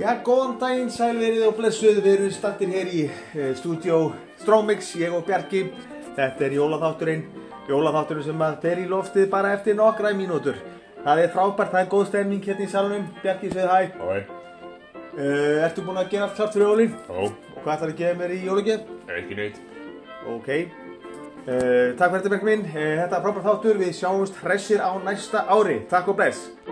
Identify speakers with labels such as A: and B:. A: Já, góðan daginn, sælverið og blessuð, við erum standir hér í uh, stúdjó Strómix, ég og Bjarki. Þetta er jólaþátturinn, jólaþátturinn sem að ber í loftið bara eftir nokkra mínútur. Það er frábært, það er góð stemning hérna í salunum, Bjarki sveið hæ.
B: Ói,
A: Uh, ertu búinn að gera allt klart fyrir jólinn?
B: ó,
A: Hvað ætlar að gefa mér í jólugjöf?
B: ekki neitt.
A: Ok. Eh, Uh, takk fyrir þetta, Bjarki minn. Uh, þetta er frábært þáttur, við sjáumst hressir á næsta ári. Takk og bless.